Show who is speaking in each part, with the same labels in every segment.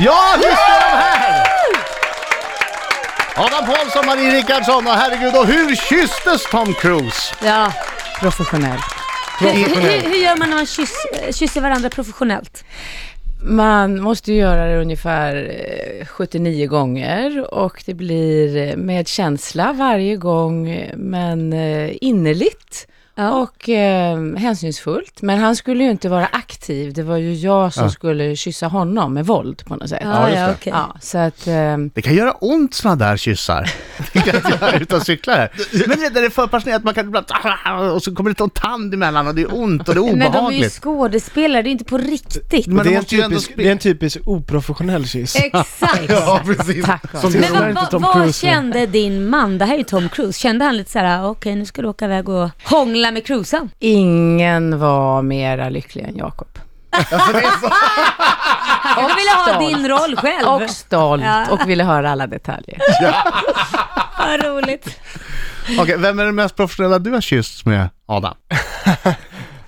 Speaker 1: Ja, visst är de här! Adam Paulsson, Marie Rickardsson och herregud, och hur kysstes Tom Cruise?
Speaker 2: Ja, professionell.
Speaker 1: Från
Speaker 3: Hur, hur,
Speaker 1: Penell.
Speaker 3: hur gör man när man kyss, eh, kysser varandra professionellt?
Speaker 2: Man måste ju göra det ungefär eh, 79 gånger och det blir eh, med känsla varje gång, eh, men eh, innerligt
Speaker 3: Ja.
Speaker 2: och eh, hänsynsfullt. Men han skulle ju inte vara aktiv, det var ju jag som
Speaker 1: Ja.
Speaker 2: skulle kyssa honom med våld på något sätt.
Speaker 3: Ja,
Speaker 1: just
Speaker 3: ja,
Speaker 1: det.
Speaker 3: okej.
Speaker 2: Ja, så att... eh,
Speaker 1: Det kan göra ont såna där kyssar. Det kan jag göra utan cyklar här. Men det där är för passionerat, man kan ibland... Och så kommer det en tand emellan och det är ont och det är
Speaker 3: Men de är ju
Speaker 1: obehagligt. Mm.
Speaker 3: skådespelare, det är inte på riktigt.
Speaker 1: Men
Speaker 4: det,
Speaker 1: de
Speaker 4: är en
Speaker 1: måste ju ändå
Speaker 4: typisk,
Speaker 1: spe-
Speaker 4: det är en typisk oprofessionell kyss.
Speaker 3: Exakt.
Speaker 1: Ja, precis.
Speaker 2: Tack,
Speaker 1: Som
Speaker 4: Adam.
Speaker 1: det
Speaker 3: Men
Speaker 4: gillar
Speaker 3: vad,
Speaker 4: inte
Speaker 3: vad,
Speaker 4: Tom
Speaker 3: vad
Speaker 4: Cruise, men-
Speaker 3: kände din man, det här är ju Tom Cruise, kände han lite så här: "Ah, okej nu ska du åka iväg och hångla med Cruisan?
Speaker 2: Ingen var mera lycklig än Jakob.
Speaker 3: Han ville ha
Speaker 2: stolt.
Speaker 3: din roll själv.
Speaker 2: Och stolt
Speaker 3: Ja.
Speaker 2: och ville höra alla detaljer.
Speaker 3: Vad roligt.
Speaker 1: Okej, vem är den mest professionella du har kyssts med, Adam?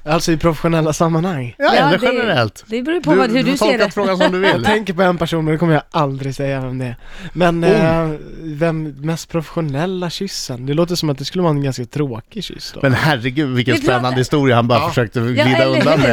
Speaker 4: Alltså i professionella sammanhang.
Speaker 1: Ja, eller
Speaker 3: det-
Speaker 1: generellt.
Speaker 3: Det beror ju på vad, hur du,
Speaker 1: får
Speaker 3: ser
Speaker 1: tolka
Speaker 3: det.
Speaker 1: frågan som du
Speaker 4: Jag
Speaker 1: vill.
Speaker 4: tänker på en person men det kommer jag aldrig säga vem det är. Men
Speaker 1: Oj.
Speaker 4: eh, vem mest professionella kyssen? Det låter som att det skulle vara en ganska tråkig kyss då.
Speaker 1: Men herregud vilken
Speaker 3: Vi pratar-
Speaker 1: spännande historia han bara försökte glida
Speaker 3: eller
Speaker 1: undan
Speaker 3: hur?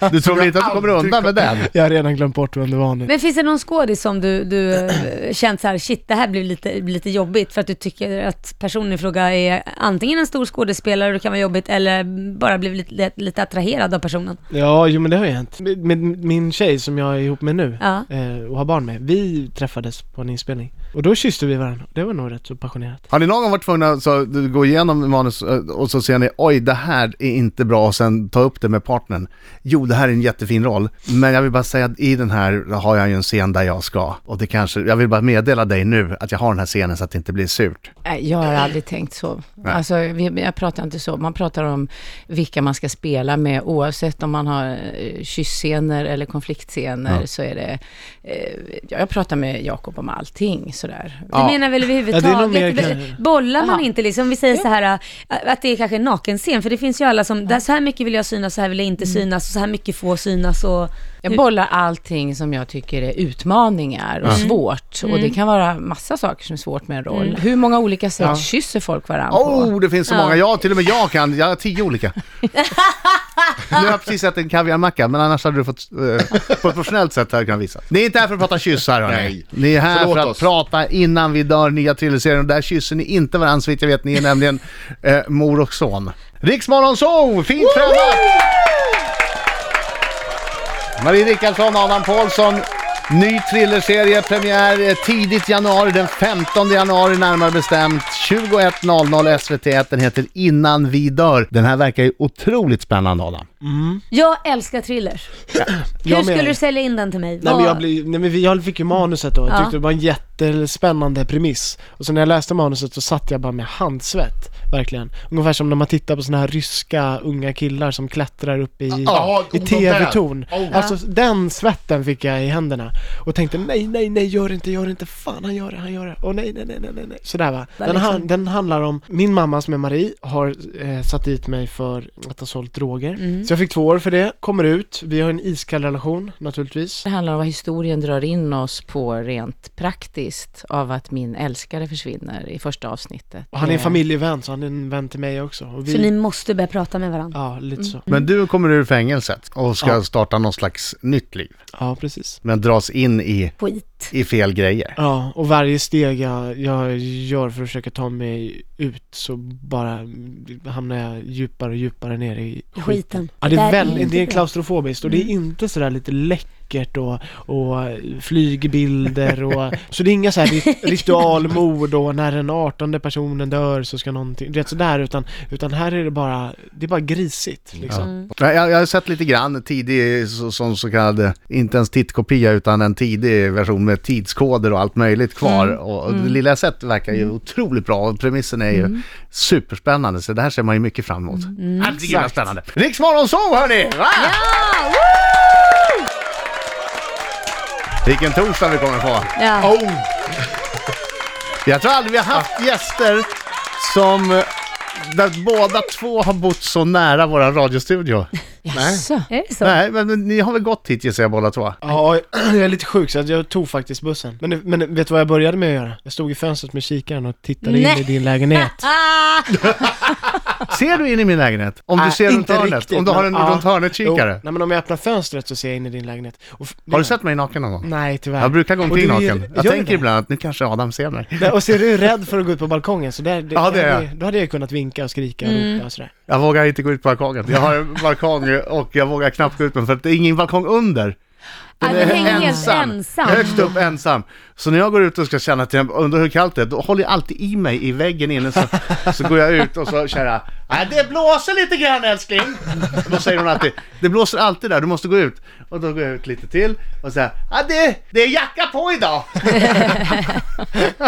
Speaker 1: med. Du tror väl inte att du kommer undan med den?
Speaker 4: Jag har redan glömt bort vem det var nu.
Speaker 3: Men finns det någon skådis som du, du eh, känt så här, shit det här blir lite, blir lite jobbigt för att du tycker att personen i fråga är antingen en stor skådespelare och det kan vara jobbigt eller bara blivit lite, lite attraherad av personen?
Speaker 4: Ja, jo men det har ju hänt. Med, med min tjej som jag är ihop med nu
Speaker 3: Ja.
Speaker 4: eh, och har barn med, vi träffades på en inspelning. Och då kysste vi varandra. Det var nog rätt så passionerat.
Speaker 1: Har ni någon gång varit tvungna att så, gå igenom manus eh, och så ser ni oj det här är inte bra och sen ta upp det med partnern. Jo det här är en jättefin roll men jag vill bara säga att i den här har jag ju en scen där jag ska och det kanske, jag vill bara meddela dig nu att jag har den här scenen så att det inte blir surt.
Speaker 2: Nej, Jag har aldrig tänkt så. Alltså, vi- jag pratar inte så. Man pratar om vilka man ska spela med. Oavsett om man har eh, kyssscener eller konfliktscener
Speaker 1: Ja.
Speaker 2: så är det... Eh, jag pratar med Jakob om allting sådär.
Speaker 3: Du menar väl överhuvudtaget?
Speaker 4: Ja, det är nog mer-
Speaker 3: Bollar man
Speaker 2: Aha.
Speaker 3: inte liksom, vi säger så här äh, att det är kanske en nakenscen, för det finns ju alla som, där, så här mycket vill jag synas, så här vill jag inte synas, och så här mycket får synas och...
Speaker 2: Jag bollar allting som jag tycker är utmaningar och svårt. Och det kan vara massa saker som är svårt med en roll. Hur många olika sätt kysser folk varandra på?
Speaker 1: Oh, det finns så
Speaker 3: Ja.
Speaker 1: många. Ja, till och med jag kan. Jag har tio olika. nu har jag precis ätit en kaviarmacka, men annars hade du fått, eh, på ett professionellt sätt hade jag kunnat visa. Ni är inte här för att prata kyssar, hörni.
Speaker 5: Nej.
Speaker 1: Ni är här
Speaker 5: Förlåt
Speaker 1: för att
Speaker 5: oss.
Speaker 1: prata innan vi dör nya thrillerserien. Och där kysser ni inte varandra, så vitt jag vet. Ni är nämligen eh, mor och son. Riksmorgon Zoo! Fint framåt! Marie Rickardsson, Adam Paulsson. Ny thrillerserie, premiär eh, tidigt januari, den 15 januari närmare bestämt. 21.00 SVT1, den heter Innan vi dör. Den här verkar ju otroligt spännande Adam.
Speaker 3: Jag älskar thrillers.
Speaker 4: Jag
Speaker 3: Hur skulle
Speaker 4: menar-
Speaker 3: du sälja in den till mig?
Speaker 4: Nej
Speaker 3: Vad-
Speaker 4: men, jag blev, nej men vi- jag fick ju manuset då, jag tyckte
Speaker 3: Ja.
Speaker 4: det var en jättespännande premiss. Och så när jag läste manuset så satt jag bara med handsvett, verkligen. Ungefär som när man tittar på såna här ryska unga killar som klättrar upp i,
Speaker 5: Ja,
Speaker 4: i
Speaker 5: oh,
Speaker 4: TV-torn.
Speaker 5: de där. Oh.
Speaker 4: Alltså den svetten fick jag i händerna. Och tänkte nej, nej, nej, gör det inte, gör det inte, fan han gör det, han gör det. Och nej, nej, nej, nej, nej, nej. Sådär va.
Speaker 3: Var
Speaker 4: Den,
Speaker 3: liksom-
Speaker 4: han, den handlar om, min mamma som är Marie har eh, satt dit mig för att ha sålt droger.
Speaker 3: Mm.
Speaker 4: Så jag fick två år för det, kommer ut, vi har en iskall relation naturligtvis.
Speaker 2: Det handlar om vad historien drar in oss på rent praktiskt av att min älskare försvinner i första avsnittet.
Speaker 4: Och han är en
Speaker 2: Eh,
Speaker 4: familjevän, så han är en vän till mig också. Och vi,
Speaker 3: Så ni Mm. måste börja prata med varandra.
Speaker 4: Ja, lite så.
Speaker 1: Men du kommer ur fängelset och ska
Speaker 4: Ja.
Speaker 1: starta någon slags nytt liv,
Speaker 4: Ja, precis.
Speaker 1: men dras in i,
Speaker 3: Skit.
Speaker 1: i fel grejer.
Speaker 4: Ja, och varje steg jag, jag gör för att försöka ta mig ut så bara hamnar jag djupare och djupare ner i
Speaker 3: Skiten.
Speaker 4: Ja, det
Speaker 3: Där Mm.
Speaker 4: är
Speaker 3: inte
Speaker 4: väldigt, det är
Speaker 3: bra.
Speaker 4: klaustrofobiskt och det är inte sådär lite läckert och, och flygbilder och så det är inga såhär rit- ritualmord och när den artonde personen dör så ska någonting, du vet sådär utan, utan här är det bara, det är bara grisigt liksom.
Speaker 1: Nej, Jag, jag har sett lite grann tidig, så, som så kallad, eh, inte ens tittkopia utan en tidig version med tidskoder och allt möjligt kvar. Och, och det lilla jag sett verkar ju otroligt bra och premissen är ju superspännande, så det här ser man ju mycket fram emot. Mm. Herregud vad spännande! Riksmorgon så hörni! Va? Vilken torsdag vi kommer få!
Speaker 3: Ja.
Speaker 5: Oh,
Speaker 1: Jag tror aldrig vi har haft gäster som eh, där båda två har bott så nära våran radiostudio.
Speaker 2: Jaså?
Speaker 3: Är det så?
Speaker 1: Nej, men men ni har väl gått hit gissar jag båda två?
Speaker 4: Ja, jag är lite sjuk så att jag tog faktiskt bussen. Men, men vet du vad jag började med att göra? Jag stod i fönstret med kikaren och tittade
Speaker 3: Nej.
Speaker 4: in i din lägenhet.
Speaker 3: Ah!
Speaker 1: Ser du in i min lägenhet? Om du
Speaker 4: Nej,
Speaker 1: ser runt
Speaker 4: inte
Speaker 1: hörnet?
Speaker 4: riktigt,
Speaker 1: om du har en
Speaker 4: men- ja.
Speaker 1: runt hörnet-kikare?
Speaker 4: Jo, nej men om jag öppnar fönstret så ser jag in i din lägenhet. Och f-
Speaker 1: Har du sett mig naken någon gång?
Speaker 4: Nej, tyvärr.
Speaker 1: Jag brukar gå
Speaker 4: Och
Speaker 1: omkring
Speaker 4: du är-
Speaker 1: naken. Jag
Speaker 4: gör
Speaker 1: tänker
Speaker 4: det?
Speaker 1: ibland att nu kanske Adam ser mig.
Speaker 4: Nej, Och så är du rädd för att gå ut på balkongen, så där,
Speaker 1: Ja, det är jag. Mm.
Speaker 4: då hade jag kunnat vinka och skrika och ropa och sådär.
Speaker 1: Jag vågar inte gå ut på balkongen. Jag har en balkong och jag vågar knappt gå ut på den för att det är ingen balkong under.
Speaker 3: Ah,
Speaker 1: Den
Speaker 3: du
Speaker 1: är
Speaker 3: hänger helt
Speaker 1: ensam.
Speaker 3: ensam.
Speaker 1: Högst upp ensam. Så när jag går ut och ska känna att jag undrar hur kallt det är, då håller jag alltid i mig i väggen inne. Så, så går jag ut och så känner jag, "Nej, det blåser lite grann älskling. Då säger hon alltid, det blåser alltid där, du måste gå ut. Och då går jag ut lite till och säger, "Ja, det, det är jacka på idag.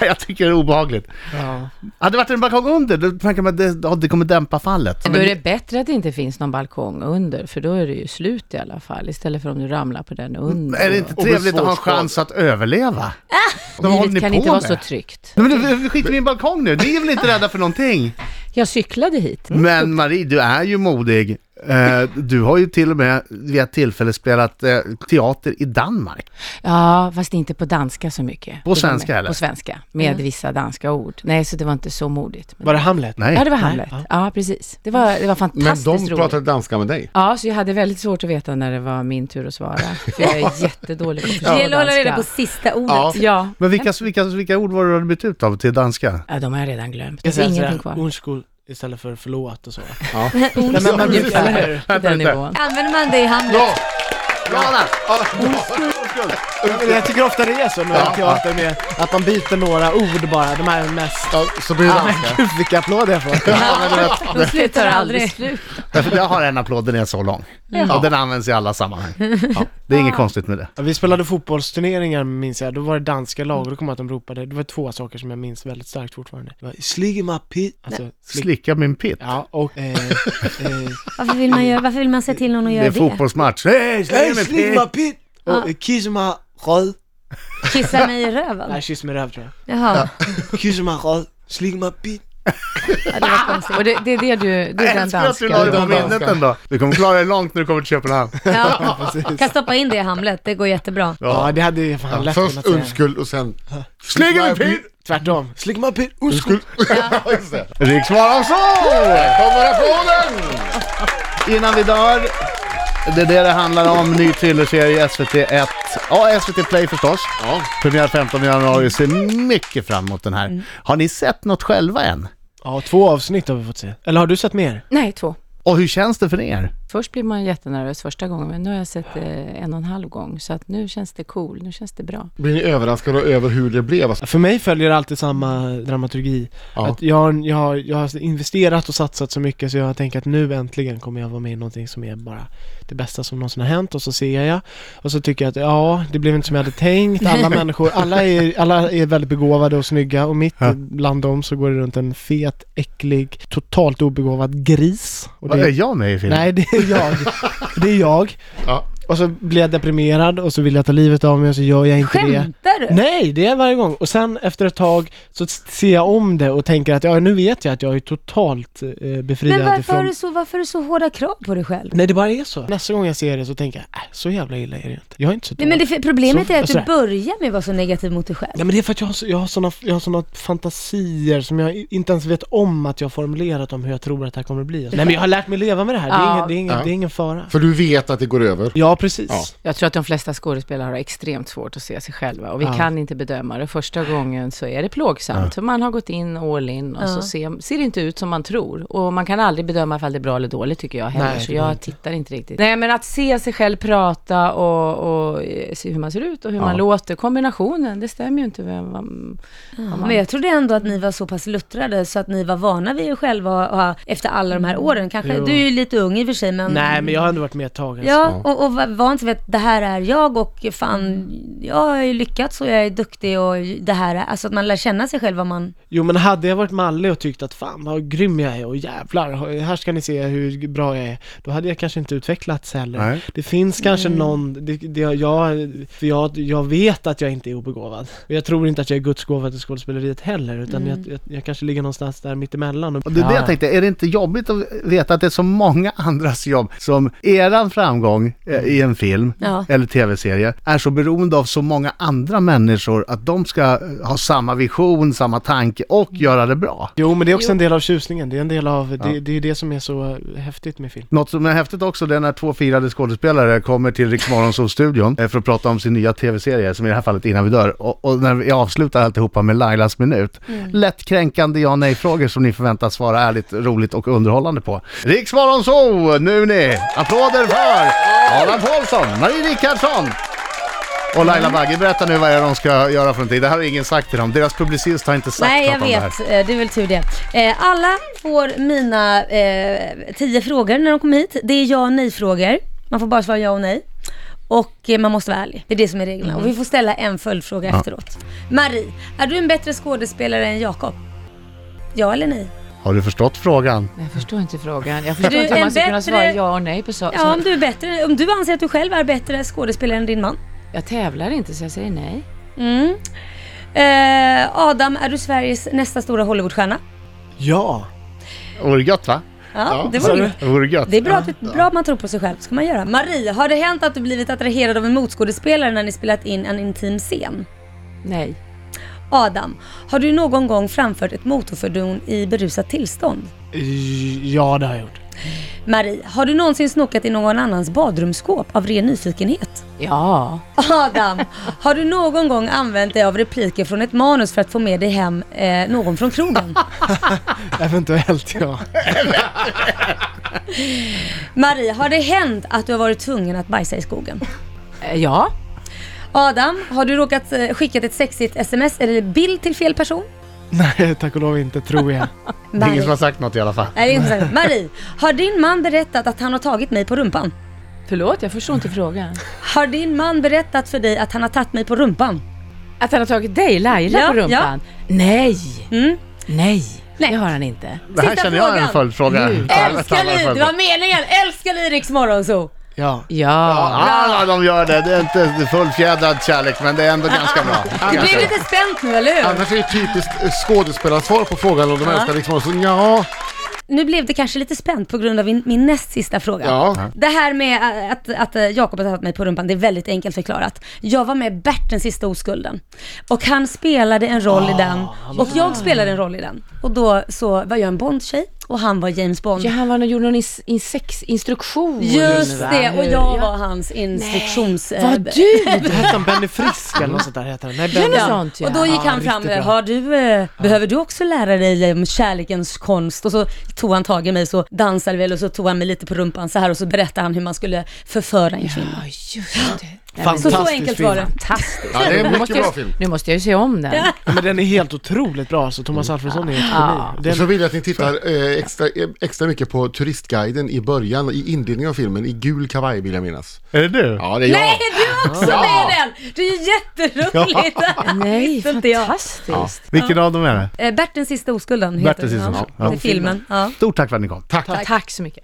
Speaker 1: jag tycker det är obehagligt.
Speaker 4: Ja.
Speaker 1: Hade det varit en balkong under, då tänker man att det, ja, det kommer dämpa fallet.
Speaker 2: Då är det bättre att det inte finns någon balkong under, för då är det ju slut i alla fall, istället för om du ramlar på den under.
Speaker 1: Är det inte trevligt att ha en chans att överleva? Vad håller ni
Speaker 2: Ah! Livet kan
Speaker 1: på
Speaker 2: inte vara
Speaker 1: med?
Speaker 2: så tryggt.
Speaker 1: Nej, men vi skiter i min balkong nu, ni är väl inte rädda för någonting?
Speaker 2: Jag cyklade hit.
Speaker 1: Men Marie, du är ju modig. Eh, Du har ju till och med vid ett tillfälle spelat eh, teater i Danmark.
Speaker 2: Ja, fast inte på danska så mycket.
Speaker 1: På
Speaker 2: Det var
Speaker 1: svenska,
Speaker 2: med-
Speaker 1: eller? Mm.
Speaker 2: På svenska, med vissa danska ord. Nej, så det var inte så modigt. Men...
Speaker 4: Var det Hamlet?
Speaker 1: Nej.
Speaker 2: Ja, det var Hamlet. Ja. precis. Det var, det var
Speaker 5: Men
Speaker 2: fantastiskt
Speaker 5: de
Speaker 2: roligt.
Speaker 5: pratade danska med dig.
Speaker 2: Ja, så jag hade väldigt svårt att veta när det var min tur att svara. För jag är jättedålig på att
Speaker 3: Det
Speaker 2: förstå
Speaker 3: gäller att hålla reda
Speaker 2: danska.
Speaker 3: på sista ordet.
Speaker 2: Ja.
Speaker 1: Men vilka, vilka, vilka ord var det du hade bytt ut av till danska?
Speaker 2: ja, de har jag redan glömt.
Speaker 4: Jag
Speaker 2: Det är
Speaker 4: säger
Speaker 2: ingenting
Speaker 4: sådär,
Speaker 2: kvar.
Speaker 4: undskyld istället för förlåt och så.
Speaker 5: Ja.
Speaker 4: Nej, men man brukar, eller hur?
Speaker 2: Ungefär på den nivån.
Speaker 3: Använder man det i handen?
Speaker 1: Ja! Bra där!
Speaker 4: Ja, men Jag tycker ofta det är så när jag har teater med att man byter några ord bara, de här mest...
Speaker 5: Ja, så blir det
Speaker 4: Ja,
Speaker 5: danska.
Speaker 4: men gud vilka applåder jag får!
Speaker 3: De
Speaker 2: Det tar
Speaker 3: slutar aldrig.
Speaker 2: aldrig slut.
Speaker 1: Därför jag har en applåd, den är så lång. Och den används i alla sammanhang. Ja, det är inget konstigt med det.
Speaker 4: Ja, Vi spelade fotbollsturneringar minns jag, då var det danska lag och då kom jag att de ropade, det var två saker som jag minns väldigt starkt fortfarande. Det var slick my pit, alltså slick,
Speaker 1: Slicka min pitt.
Speaker 4: ja och... Eh, eh,
Speaker 3: Varför vill man, göra, varför vill man se till någon att
Speaker 1: Det
Speaker 3: göra
Speaker 1: är
Speaker 3: det?
Speaker 1: fotbollsmatch. Hej,
Speaker 4: hey,
Speaker 1: slicka min
Speaker 4: slick
Speaker 1: pitt!
Speaker 4: my pit! Och eh, kiss my röd.
Speaker 3: Kissa mig i röven?
Speaker 4: Nej, kyss mig röv tror
Speaker 3: Jaha,
Speaker 4: jag. Kiss my röd, slick my pit.
Speaker 2: Ja, det var konstigt. Och det, det är det du, det är den
Speaker 1: Älskar att du la det
Speaker 2: danska.
Speaker 1: på
Speaker 5: Den danska.
Speaker 1: minnet ändå. Du kommer klara dig långt när du kommer till Köpenhamn.
Speaker 3: ja. Kan stoppa in det i Hamlet, det går jättebra.
Speaker 4: Ja, det hade jag fan lätt
Speaker 5: Först
Speaker 4: kunnat säga.
Speaker 5: undskyld och sen...
Speaker 1: Slänger en pin!
Speaker 4: Tvärtom. Slick my pit, undskyld.
Speaker 1: Riksmorgon så!
Speaker 5: Kommer applåden!
Speaker 1: Innan vi dör. Det är det det handlar om. Ny thrillerserie i SVT1. Ja, SVT Play förstås.
Speaker 5: Ja. Mm.
Speaker 1: Premiär 15 januari. Ser mycket fram emot den här. Har ni sett något själva än?
Speaker 4: Ja, två avsnitt har vi fått se. Eller har du sett mer?
Speaker 2: Nej, två.
Speaker 1: Och hur känns det för er?
Speaker 2: Först blir man jättenervös första gången, men nu har jag sett det en och en halv gång, så att nu känns det cool, nu känns det bra.
Speaker 5: Blir ni överraskade över hur det blev? Alltså,
Speaker 4: För mig följer det alltid samma dramaturgi.
Speaker 5: Ja.
Speaker 4: Att jag, har- jag, har- jag har investerat och satsat så mycket så jag har tänkt att nu äntligen kommer jag vara med i någonting som är bara det bästa som någonsin har hänt och så ser jag och så tycker jag att ja, det blev inte som jag hade tänkt. Alla människor, alla är, alla är väldigt begåvade och snygga och mitt
Speaker 1: Ja.
Speaker 4: bland dem så går det runt en fet, äcklig, totalt obegåvad gris. Och
Speaker 1: Vad
Speaker 4: det-
Speaker 1: är jag med i filmen?
Speaker 4: Nej, det är jag. Det är jag.
Speaker 5: Ja.
Speaker 4: Och så blir jag deprimerad och så vill jag ta livet av mig och så gör jag inte det.
Speaker 3: Skämtar du?
Speaker 4: Nej, det är varje gång. Och sen efter ett tag så ser jag om det och tänker att ja, nu vet jag att jag är totalt eh, befriad
Speaker 3: Men varför har,
Speaker 4: från...
Speaker 3: du så, varför har du så hårda krav på dig själv?
Speaker 4: Nej, det bara är så. Nästa gång jag ser det så tänker jag, äh, så jävla illa är det inte. Jag är inte så
Speaker 3: Nej,
Speaker 4: dålig.
Speaker 3: men det, problemet
Speaker 4: Så-
Speaker 3: är att du
Speaker 4: sådär.
Speaker 3: börjar med att vara så negativ mot dig själv.
Speaker 4: Nej men det är för att jag har, så- jag har såna, jag har såna fantasier som jag i- inte ens vet om att jag har formulerat om hur jag tror att det här kommer att bli. Nej men jag har lärt mig leva med det här, det är,
Speaker 2: Ja.
Speaker 4: ingen, det är, ingen,
Speaker 5: Ja.
Speaker 4: det är ingen fara.
Speaker 5: För du vet att det går över.
Speaker 4: Ja precis.
Speaker 5: Ja.
Speaker 2: Jag tror att de flesta skådespelare har extremt svårt att se sig själva och vi
Speaker 4: Ja.
Speaker 2: kan inte bedöma det. Första gången så är det plågsamt, för man har gått in all in och
Speaker 3: Ja.
Speaker 2: så ser, ser det inte ut som man tror. Och man kan aldrig bedöma ifall det är bra eller dåligt tycker jag heller,
Speaker 4: Nej,
Speaker 2: så
Speaker 4: det går
Speaker 2: jag
Speaker 4: inte.
Speaker 2: tittar inte riktigt. Nej, men att se sig själv prata och, och eh, se hur man ser ut och hur man låter, kombinationen, det stämmer ju inte med vad man... vad man-
Speaker 3: Men jag trodde ändå att ni var så pass luttrade så att ni var vana vid er själva och, och, efter alla de här åren. Kanske,
Speaker 4: Mm. Jo.
Speaker 3: du är ju lite ung i och för sig men...
Speaker 4: Nej men jag har ändå varit med ett tag. alltså.
Speaker 3: Ja, och, och var van vid att det här är jag och fan, jag har ju lyckats så, jag är duktig och det här, är- alltså att man lär känna sig själv vad man...
Speaker 4: Jo men hade jag varit mallig och tyckt att fan vad grym jag är och jävlar, här ska ni se hur bra jag är. Då hade jag kanske inte utvecklats heller.
Speaker 1: Nej.
Speaker 4: Det finns kanske någon, det, det, jag, för jag, jag vet att jag inte är obegåvad. Och jag tror inte att jag är gudsgåvad till skådespeleriet heller, utan jag, jag, jag kanske ligger någonstans där mittemellan.
Speaker 1: Och det är det jag tänkte, är det inte jobbigt att veta att det är så många andras jobb som eran framgång eh, i en film
Speaker 3: Ja.
Speaker 1: eller tv-serie är så beroende av så många andra människor att de ska eh, ha samma vision, samma tanke och göra det bra.
Speaker 4: Jo men det är också en del av tjusningen, det är en del av, det, det är det som är så häftigt med film.
Speaker 1: Något som är häftigt också det är när två firade skådespelare kommer till Rix studion eh, för att prata om sin nya tv-serie, som i det här fallet Innan vi dör. Och, och när jag avslutar alltihopa med Lailas minut.
Speaker 3: Mm.
Speaker 1: Lätt kränkande ja nej-frågor som ni förväntas svara ärligt, roligt och underhållande på. Rix Morgonzoo, nu ni! Applåder för Adam Paulsson, Marie Rickardsson, och Laila Bagge, berätta nu vad det är de ska göra för någonting. Det här har ingen sagt till dem. Deras publicist har inte sagt
Speaker 3: Nej, jag
Speaker 1: något om det här.
Speaker 3: vet. Eh, Det är väl tur det. Eh, Alla får mina eh, tio frågor när de kommer hit. Det är ja och nej-frågor. Man får bara svara ja och nej. Och eh, man måste vara ärlig. Det är det som är reglerna. Och vi får ställa en följdfråga efteråt. Marie, är du en bättre skådespelare än Jakob? Ja eller nej?
Speaker 1: Har du förstått frågan?
Speaker 2: Jag förstår inte frågan. Jag förstår
Speaker 3: Du,
Speaker 2: inte hur
Speaker 3: en
Speaker 2: man ska kunna
Speaker 3: bättre-
Speaker 2: svara ja och nej på saker.
Speaker 3: Ja, om du är bättre. Om du anser att du själv är bättre skådespelare än din man.
Speaker 2: Jag tävlar inte så jag säger nej.
Speaker 3: Mm. Eh, Adam, är du Sveriges nästa stora Hollywoodstjärna?
Speaker 4: Ja!
Speaker 1: Vore gött va?
Speaker 3: Ja, alltså, det
Speaker 4: sa
Speaker 3: var
Speaker 4: du?
Speaker 3: det.
Speaker 1: Vore gött.
Speaker 3: Det är bra, att, du- bra att man tror på sig själv, ska man göra. Marie, har det hänt att du blivit attraherad av en motskådespelare när ni spelat in en intim scen?
Speaker 2: Nej.
Speaker 3: Adam, har du någon gång framfört ett motorfordon i berusat tillstånd?
Speaker 4: Eh, Ja det har jag gjort.
Speaker 3: Marie, har du någonsin snokat i någon annans badrumsskåp av ren nyfikenhet?
Speaker 2: Ja.
Speaker 3: Adam, har du någon gång använt dig av repliker från ett manus för att få med dig hem eh, någon från krogen?
Speaker 4: Eventuellt ja.
Speaker 3: Marie, har det hänt att du har varit tvungen att bajsa i skogen?
Speaker 2: Eh, Ja.
Speaker 3: Adam, har du råkat eh, skickat ett sexigt sms eller bild till fel person?
Speaker 4: Nej tack och lov inte tror jag.
Speaker 1: Det är ingen
Speaker 3: Marie.
Speaker 1: som har sagt något i alla fall.
Speaker 3: Nej, det är inte sant. Marie, har din man berättat att han har tagit mig på rumpan?
Speaker 2: Förlåt, jag förstår inte frågan.
Speaker 3: Har din man berättat för dig att han har tagit mig på rumpan?
Speaker 2: Att han har tagit dig, Laila,
Speaker 3: Ja,
Speaker 2: på rumpan? Nej!
Speaker 3: Mm.
Speaker 2: Nej,
Speaker 3: Nej.
Speaker 2: det har han inte.
Speaker 1: Det här
Speaker 3: Sista
Speaker 1: känner jag är en
Speaker 3: frågan.
Speaker 1: följdfråga.
Speaker 2: Mm.
Speaker 3: Älskar ni? Det var meningen! Älskar ni Riks Morgonzoo?
Speaker 4: Ja.
Speaker 2: Ja.
Speaker 1: Alla de gör det. Det är inte fullfjädrad kärlek, men det är ändå ganska bra.
Speaker 3: Du
Speaker 1: Ganska
Speaker 3: blev
Speaker 1: bra.
Speaker 3: lite spänt nu, eller hur?
Speaker 5: Annars är det typiskt eh, skådespelarsvar på frågan om de älskar liksom så ja,
Speaker 3: Nu blev det kanske lite spänt på grund av min, min näst sista fråga.
Speaker 5: ja.
Speaker 3: Det här med eh, att, att eh, Jakob har tagit mig på rumpan, det är väldigt enkelt förklarat. Jag var med i Bert den sista oskulden. Och han spelade en roll i den.
Speaker 1: Ah,
Speaker 3: Och jag spelade en roll i den. Och då så var jag en Bond-tjej och han var James Bond.
Speaker 2: ja, han var, gjorde någon ins- insexinstruktion.
Speaker 3: Just
Speaker 2: va?
Speaker 3: det, och
Speaker 2: Hur- ja.
Speaker 3: jag var hans instruktions... eh,
Speaker 2: Var du
Speaker 4: Det hette han Benny Frisk eller något sånt där heter han. Nej,
Speaker 2: Ja,
Speaker 4: Benny.
Speaker 2: något sånt ja.
Speaker 3: Och då gick han
Speaker 4: riktigt
Speaker 3: fram,
Speaker 4: bra.
Speaker 3: har du, eh, behöver du också lära dig om kärlekens konst? Och så tog han tag i mig, så dansade vi, och så tog han mig lite på rumpan så här och så berättade han hur man skulle förföra en kvinna.
Speaker 2: Ja, just det. Nej, men
Speaker 4: Fan.
Speaker 3: Så så
Speaker 4: Fantastisk
Speaker 3: enkelt
Speaker 4: film.
Speaker 3: var det.
Speaker 2: Fantastiskt.
Speaker 5: Ja, det är en
Speaker 2: Nu måste
Speaker 5: mycket bra
Speaker 2: jag-
Speaker 5: film.
Speaker 2: Nu måste jag ju se om den.
Speaker 4: Ja, Men den är helt otroligt bra alltså, Thomas Alfredsson är ett
Speaker 2: Ja.
Speaker 4: geni.
Speaker 5: Och så
Speaker 4: Den,
Speaker 5: vill jag att ni tittar eh, extra, eh, extra mycket på turistguiden i början, i inledningen av filmen, i gul kavaj vill jag minnas.
Speaker 1: Är det du?
Speaker 5: Ja, det är jag.
Speaker 3: Nej, du också
Speaker 5: Ja.
Speaker 3: med i den! Det är ju jätteroligt!
Speaker 2: Nej,
Speaker 3: Visste inte jag.
Speaker 2: fantastiskt.
Speaker 1: Vilken av dem är det?
Speaker 3: Eh, Bert den sista oskulden
Speaker 1: Bert
Speaker 3: heter
Speaker 1: den sista
Speaker 3: den.
Speaker 1: oskulden.
Speaker 3: Ja,
Speaker 1: Ja.
Speaker 3: det är filmen. Ja.
Speaker 1: Stort tack för att ni kom.
Speaker 2: Tack så mycket.